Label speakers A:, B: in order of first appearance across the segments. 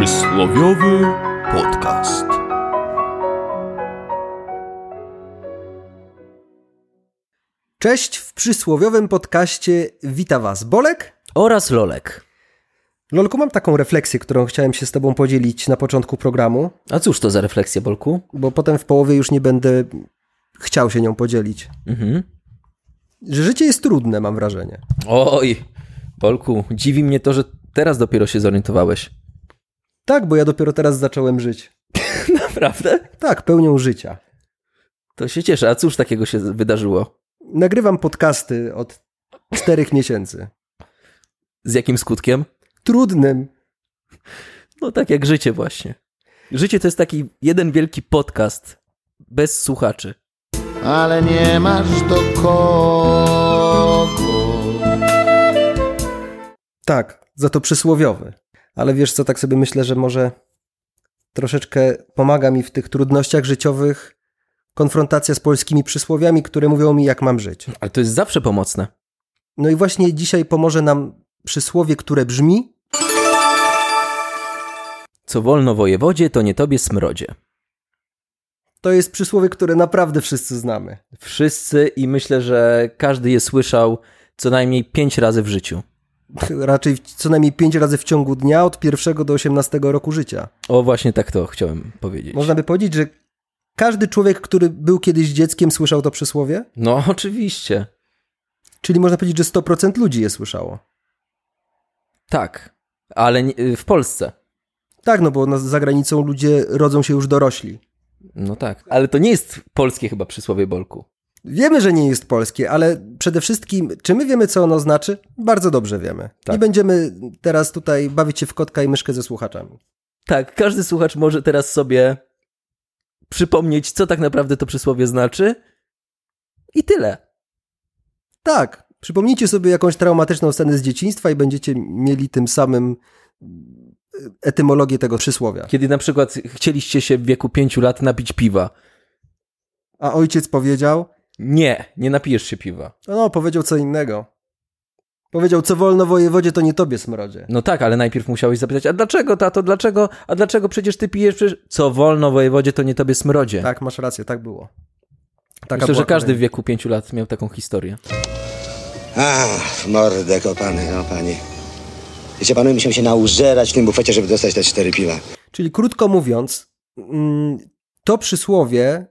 A: Przysłowiowy podcast.
B: Cześć, w przysłowiowym podcaście wita Was Bolek.
C: oraz Lolek.
B: Lolku, mam taką refleksję, którą chciałem się z Tobą podzielić na początku programu,
C: A cóż to za refleksja, Bolku?
B: bo potem w połowie już nie będę chciał się nią podzielić.
C: Mhm.
B: Że życie jest trudne, mam wrażenie.
C: Oj, Bolku, dziwi mnie to, że teraz dopiero się zorientowałeś.
B: Tak, bo ja dopiero teraz zacząłem żyć.
C: Naprawdę?
B: Tak, pełnią życia.
C: To się cieszę. A cóż takiego się wydarzyło?
B: Nagrywam podcasty od czterech miesięcy.
C: Z jakim skutkiem?
B: Trudnym.
C: No tak jak życie właśnie. Życie to jest taki jeden wielki podcast bez słuchaczy.
D: ale nie masz do kogo.
B: Tak, za to przysłowiowy. Ale wiesz co, tak sobie myślę, że może troszeczkę pomaga mi w tych trudnościach życiowych konfrontacja z polskimi przysłowiami, które mówią mi, jak mam żyć.
C: Ale to jest zawsze pomocne.
B: No i właśnie dzisiaj pomoże nam przysłowie, które brzmi
C: Co wolno wojewodzie, to nie tobie smrodzie.
B: to jest przysłowie, które naprawdę wszyscy znamy.
C: Wszyscy i myślę, że każdy je słyszał co najmniej pięć razy w życiu.
B: Raczej w- co najmniej pięć razy w ciągu dnia od pierwszego do 18 roku życia.
C: O, właśnie tak to chciałem powiedzieć.
B: Można by powiedzieć, że każdy człowiek, który był kiedyś dzieckiem, słyszał to przysłowie?
C: No, oczywiście.
B: Czyli można powiedzieć, że 100% ludzi je słyszało.
C: Tak, ale nie, y, w Polsce.
B: Tak, no bo na- za granicą ludzie rodzą się już dorośli.
C: No tak. Ale to nie jest polskie chyba przysłowie Bolku.
B: Wiemy, że nie jest polskie, ale przede wszystkim, czy my wiemy, co ono znaczy? Bardzo dobrze wiemy.
C: Tak.
B: Nie będziemy teraz tutaj bawić się w kotka i myszkę ze słuchaczami.
C: Tak, każdy słuchacz może teraz sobie przypomnieć, co tak naprawdę to przysłowie znaczy. I tyle.
B: Tak, przypomnijcie sobie jakąś traumatyczną scenę z dzieciństwa i będziecie mieli tym samym y, etymologię tego przysłowia.
C: Kiedy na przykład chcieliście się w wieku pięciu lat napić piwa.
B: A ojciec powiedział,
C: Nie, nie napijesz się piwa.
B: no powiedział co innego. Powiedział, co wolno wojewodzie, to nie tobie smrodzie.
C: No tak, ale najpierw musiałeś zapytać, a dlaczego tato, dlaczego, a dlaczego przecież ty pijesz, przecież... co wolno wojewodzie, to nie tobie smrodzie.
B: Tak, masz rację, tak było. Taka
C: Myślę,
B: była
C: że każdy w
B: kolejna.
C: wieku pięciu lat miał taką historię.
E: Ach, w mordę kopany, no panie. Wiecie, panowie musiał się naużerać w tym bufecie, żeby dostać te cztery piwa.
B: Czyli krótko mówiąc, mm, to przysłowie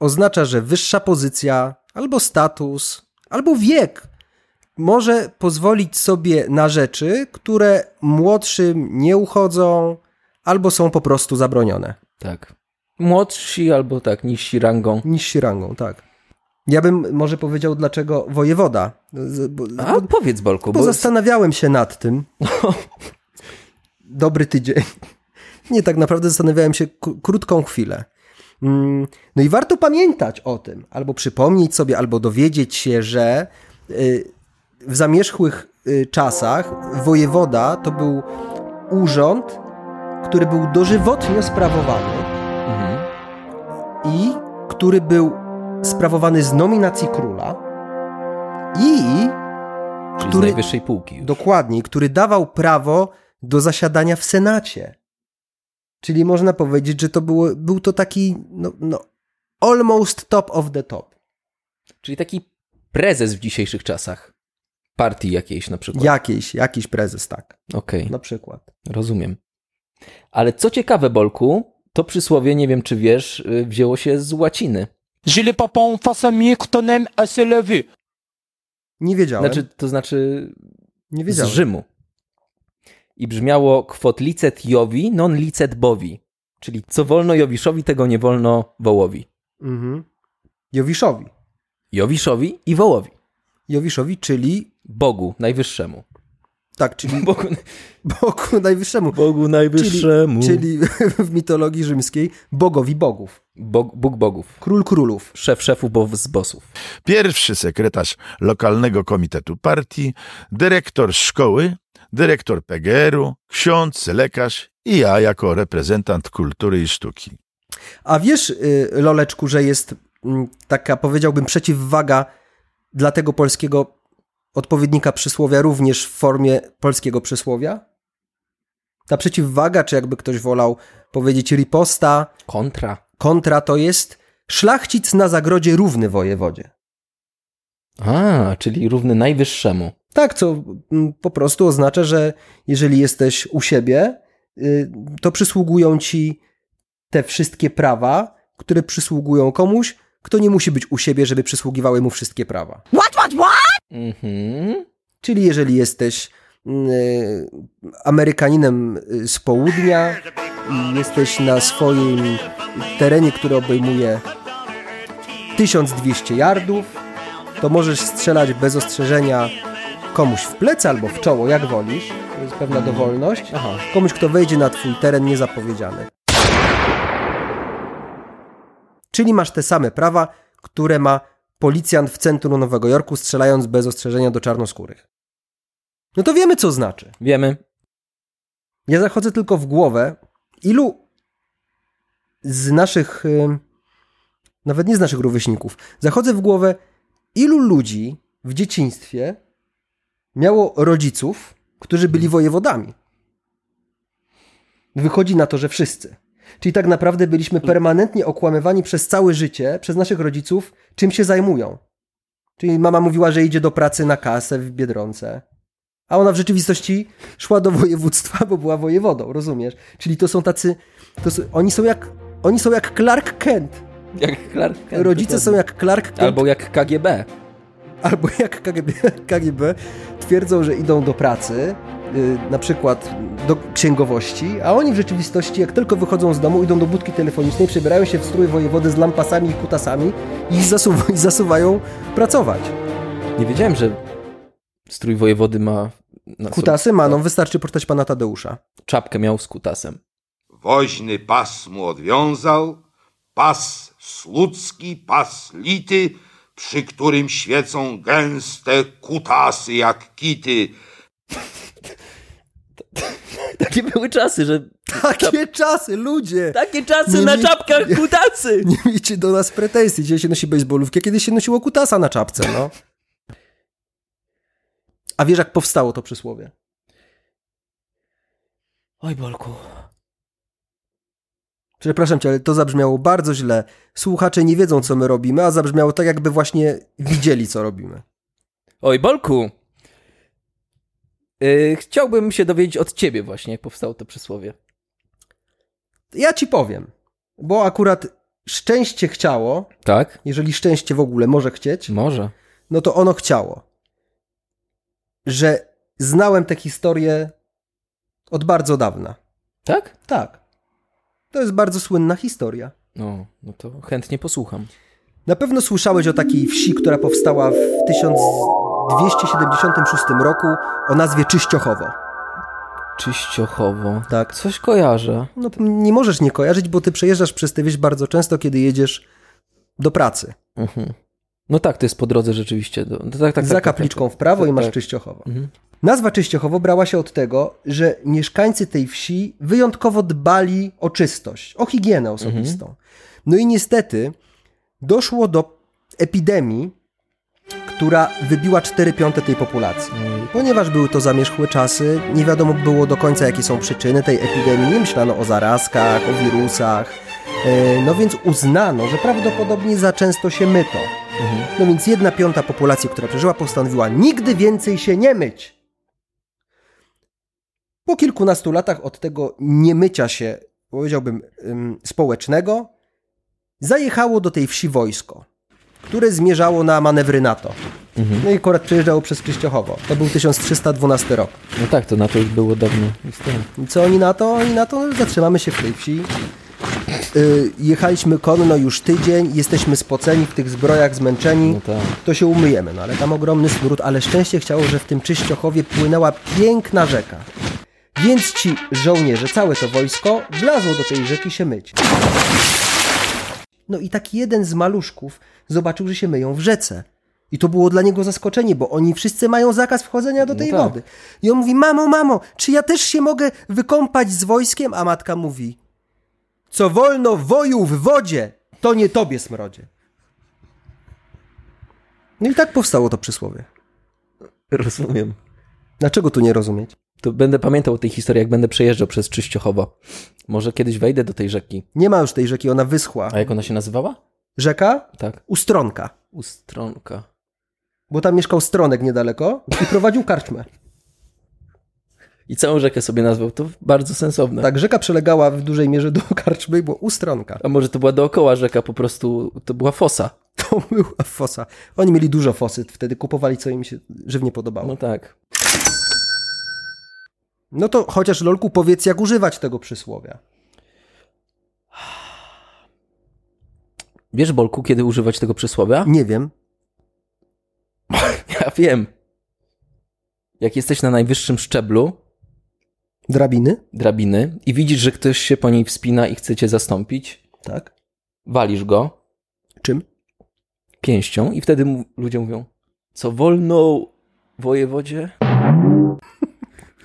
B: oznacza, że wyższa pozycja, albo status, albo wiek może pozwolić sobie na rzeczy, które młodszym nie uchodzą, albo są po prostu zabronione.
C: Tak. Młodsi albo tak, niżsi rangą.
B: Niżsi rangą, tak. Ja bym może powiedział, dlaczego wojewoda. Z- Bo,
C: A
B: bo,
C: powiedz Bolku,
B: bo
C: bo
B: zastanawiałem się nad tym. Dobry tydzień. Nie, tak naprawdę zastanawiałem się k- krótką chwilę. Mm, No i warto pamiętać o tym, albo przypomnieć sobie, albo dowiedzieć się, że y, w zamierzchłych y, czasach wojewoda to był urząd, który był dożywotnio sprawowany
C: Mhm.
B: i który był sprawowany z nominacji króla i
C: Czyli
B: który-
C: z najwyższej półki.
B: Dokładnie, który dawał prawo do zasiadania w Senacie. Czyli można powiedzieć, że to było, był to taki no, no, almost top of the top.
C: Czyli taki prezes w dzisiejszych czasach. Partii jakiejś na przykład.
B: Jakiś, jakiś prezes, tak,
C: Okej,
B: na przykład.
C: rozumiem. Ale co ciekawe, Bolku, to przysłowie, nie wiem czy wiesz, y, wzięło się z łaciny.
F: Je les papons face à mieux que ton aime à se lever.
B: Nie wiedziałem,
C: Znaczy, to znaczy
B: nie
C: z
B: wiedziałem.
C: Rzymu. I brzmiało kwot licet jowi, non licet bowi. Czyli co wolno Jowiszowi, tego nie wolno Wołowi.
B: Mhm. Jowiszowi.
C: Jowiszowi i Wołowi.
B: Jowiszowi, czyli,
C: Bogu najwyższemu.
B: tak, czyli
C: Bogu,
B: Bogu Najwyższemu.
C: Bogu
B: Czyli,
C: najwyższemu.
B: czyli w mitologii rzymskiej bogowi bogów.
C: Bog, Bóg bogów.
B: Król królów.
C: szef szefów bo z bossów.
G: pierwszy sekretarz lokalnego komitetu partii, dyrektor szkoły, dyrektor PGR-u, ksiądz, lekarz i ja jako reprezentant kultury i sztuki.
B: A wiesz, y, Loleczku, że jest mm, taka, powiedziałbym, przeciwwaga dla tego polskiego odpowiednika przysłowia również w formie polskiego przysłowia? Ta przeciwwaga, czy jakby ktoś wolał powiedzieć riposta,
C: Kontra.
B: kontra to jest szlachcic na zagrodzie równy wojewodzie.
C: A, czyli równy najwyższemu.
B: Tak, co mm, po prostu oznacza, że jeżeli jesteś u siebie, y, to przysługują ci te wszystkie prawa, które przysługują komuś, kto nie musi być u siebie, żeby przysługiwały mu wszystkie prawa.
C: Mhm.
B: Czyli jeżeli jesteś y, Amerykaninem y, z południa i jesteś na swoim terenie, który obejmuje 1200 yardów, to możesz strzelać bez ostrzeżenia komuś w plecy albo w czoło, jak wolisz. To jest pewna dowolność.
C: Aha.
B: Komuś, kto wejdzie na twój teren niezapowiedziany. Czyli masz te same prawa, które ma policjant w centrum Nowego Jorku, strzelając bez ostrzeżenia do czarnoskórych. No to wiemy, co znaczy.
C: Wiemy.
B: Ja zachodzę tylko w głowę, ilu z naszych, ym, nawet nie z naszych rówieśników, zachodzę w głowę, ilu ludzi w dzieciństwie miało rodziców, którzy byli wojewodami. Wychodzi na to, że wszyscy. Czyli tak naprawdę byliśmy permanentnie okłamywani przez całe życie, przez naszych rodziców, czym się zajmują. Czyli mama mówiła, że idzie do pracy na kasę w Biedronce. A ona w rzeczywistości szła do województwa, bo była wojewodą, rozumiesz? Czyli to są tacy. To są, oni, są jak, oni są jak Clark Kent.
C: Jak Clark Kent,
B: Rodzice są
C: Tak, dokładnie.
B: jak Clark Kent albo,
C: Albo jak KGB.
B: albo jak KGB, KGB. Twierdzą, że idą do pracy, y, na przykład do księgowości, a oni w rzeczywistości, jak tylko wychodzą z domu, idą do budki telefonicznej, przebierają się w strój wojewody z lampasami i kutasami i, zasuwa, i zasuwają pracować.
C: Nie wiedziałem, że strój wojewody ma... Na
B: Kutasy maną, wystarczy portać pana Tadeusza.
C: Czapkę miał z kutasem.
A: Woźny pas mu odwiązał, pas słudzki, pas lity, przy którym świecą gęste kutasy jak kity.
C: Takie były czasy, że...
B: Takie czasy, ludzie!
C: Takie czasy
B: Nie
C: na
B: mi-
C: czapkach kutasy!
B: Nie miejcie do nas pretensji. Dzisiaj się nosi bejsbolówki, a kiedyś się nosiło kutasa na czapce, no. A wiesz, jak powstało to przysłowie?
C: Oj, Bolku.
B: Przepraszam cię, ale to zabrzmiało bardzo źle. Słuchacze nie wiedzą, co my robimy, a zabrzmiało tak, jakby właśnie widzieli, co robimy.
C: Oj, Bolku! Yy, chciałbym się dowiedzieć od ciebie właśnie, jak powstało to przysłowie.
B: Ja ci powiem, bo akurat szczęście chciało,
C: Tak?
B: jeżeli szczęście w ogóle może chcieć,
C: Może.
B: no to ono chciało, że znałem tę historię od bardzo dawna.
C: Tak?
B: Tak. To jest bardzo słynna historia.
C: No, no to chętnie posłucham.
B: Na pewno słyszałeś o takiej wsi, która powstała w 1276 roku o nazwie Czyściochowo.
C: Czyściochowo.
B: Tak.
C: Coś kojarzę.
B: No, nie możesz nie kojarzyć, bo ty przejeżdżasz przez tę wieś bardzo często, kiedy jedziesz do pracy.
C: Mhm. No tak, to jest po drodze rzeczywiście. Do, no tak, tak,
B: Za
C: tak,
B: kapliczką
C: tak,
B: w prawo
C: tak,
B: i masz
C: tak.
B: Czyściochowo.
C: Mhm.
B: Nazwa Czyściochowo brała się od tego, że mieszkańcy tej wsi wyjątkowo dbali o czystość, o higienę osobistą.
C: Mhm.
B: No i niestety doszło do epidemii, która wybiła 4 piąte tej populacji. Ponieważ były to zamierzchłe czasy, nie wiadomo było do końca, jakie są przyczyny tej epidemii. Nie myślano o zarazkach, o wirusach. E, No więc uznano, że prawdopodobnie za często się myto. No więc jedna piąta populacji, która przeżyła, postanowiła nigdy więcej się nie myć. Po kilkunastu latach od tego niemycia się, powiedziałbym, ym, społecznego, zajechało do tej wsi wojsko, które zmierzało na manewry NATO. No i akurat przejeżdżało przez Krzyściochowo. To był 1312 rok.
C: No tak, to na to już było dawno. istniało.
B: I Co oni na to? Oni na to no, zatrzymamy się w tej wsi. Y, jechaliśmy konno już tydzień, jesteśmy spoceni w tych zbrojach, zmęczeni.
C: No tak.
B: To się umyjemy, no ale tam ogromny smród, ale szczęście chciało, że w tym czyściochowie płynęła piękna rzeka. Więc ci żołnierze, całe to wojsko, wlazło do tej rzeki się myć. No i tak jeden z maluszków zobaczył, że się myją w rzece. I to było dla niego zaskoczenie, bo oni wszyscy mają zakaz wchodzenia do tej
C: tak.
B: wody. I on mówi, mamo, mamo, czy ja też się mogę wykąpać z wojskiem? A matka mówi, co wolno woju w wodzie, to nie tobie smrodzie. No i tak powstało to przysłowie.
C: Rozumiem.
B: Dlaczego tu nie rozumieć?
C: To będę pamiętał o tej historii, jak będę przejeżdżał przez Czyściochowo. Może kiedyś wejdę do tej rzeki.
B: Nie ma już tej rzeki, ona wyschła.
C: A jak ona się nazywała?
B: Rzeka
C: Tak.
B: Ustronka,
C: Ustronka.
B: bo tam mieszkał Stronek niedaleko i prowadził karczmę.
C: I całą rzekę sobie nazwał. To bardzo sensowne.
B: Tak, rzeka przelegała w dużej mierze do karczmy i była Ustronka.
C: A może to była dookoła rzeka, po prostu to była fosa.
B: To była fosa. Oni mieli dużo fosyt, wtedy kupowali co im się żywnie podobało.
C: No tak.
B: No to chociaż Lolku powiedz jak używać tego przysłowia.
C: Wiesz, Bolku, kiedy używać tego przysłowia?
B: Nie wiem.
C: Ja wiem. Jak jesteś na najwyższym szczeblu
B: Drabiny?
C: drabiny i widzisz, że ktoś się po niej wspina i chce cię zastąpić,
B: Tak.
C: walisz go
B: Czym?
C: pięścią i wtedy mu, ludzie mówią, co wolno wojewodzie?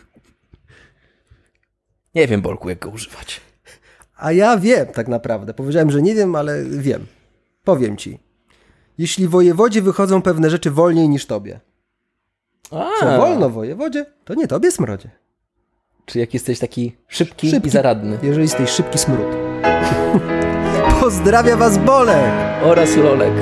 C: Nie wiem, Bolku, jak go używać.
B: A ja wiem tak naprawdę. Powiedziałem, że nie wiem, ale wiem. Powiem ci. Jeśli wojewodzie wychodzą pewne rzeczy wolniej niż tobie,
C: A,
B: co wolno wojewodzie, to nie tobie smrodzie.
C: Czy jak jesteś taki szybki,
B: Szybki.
C: i zaradny.
B: Jeżeli jesteś szybki smród. Pozdrawia was Bolek!
C: Oraz Lolek.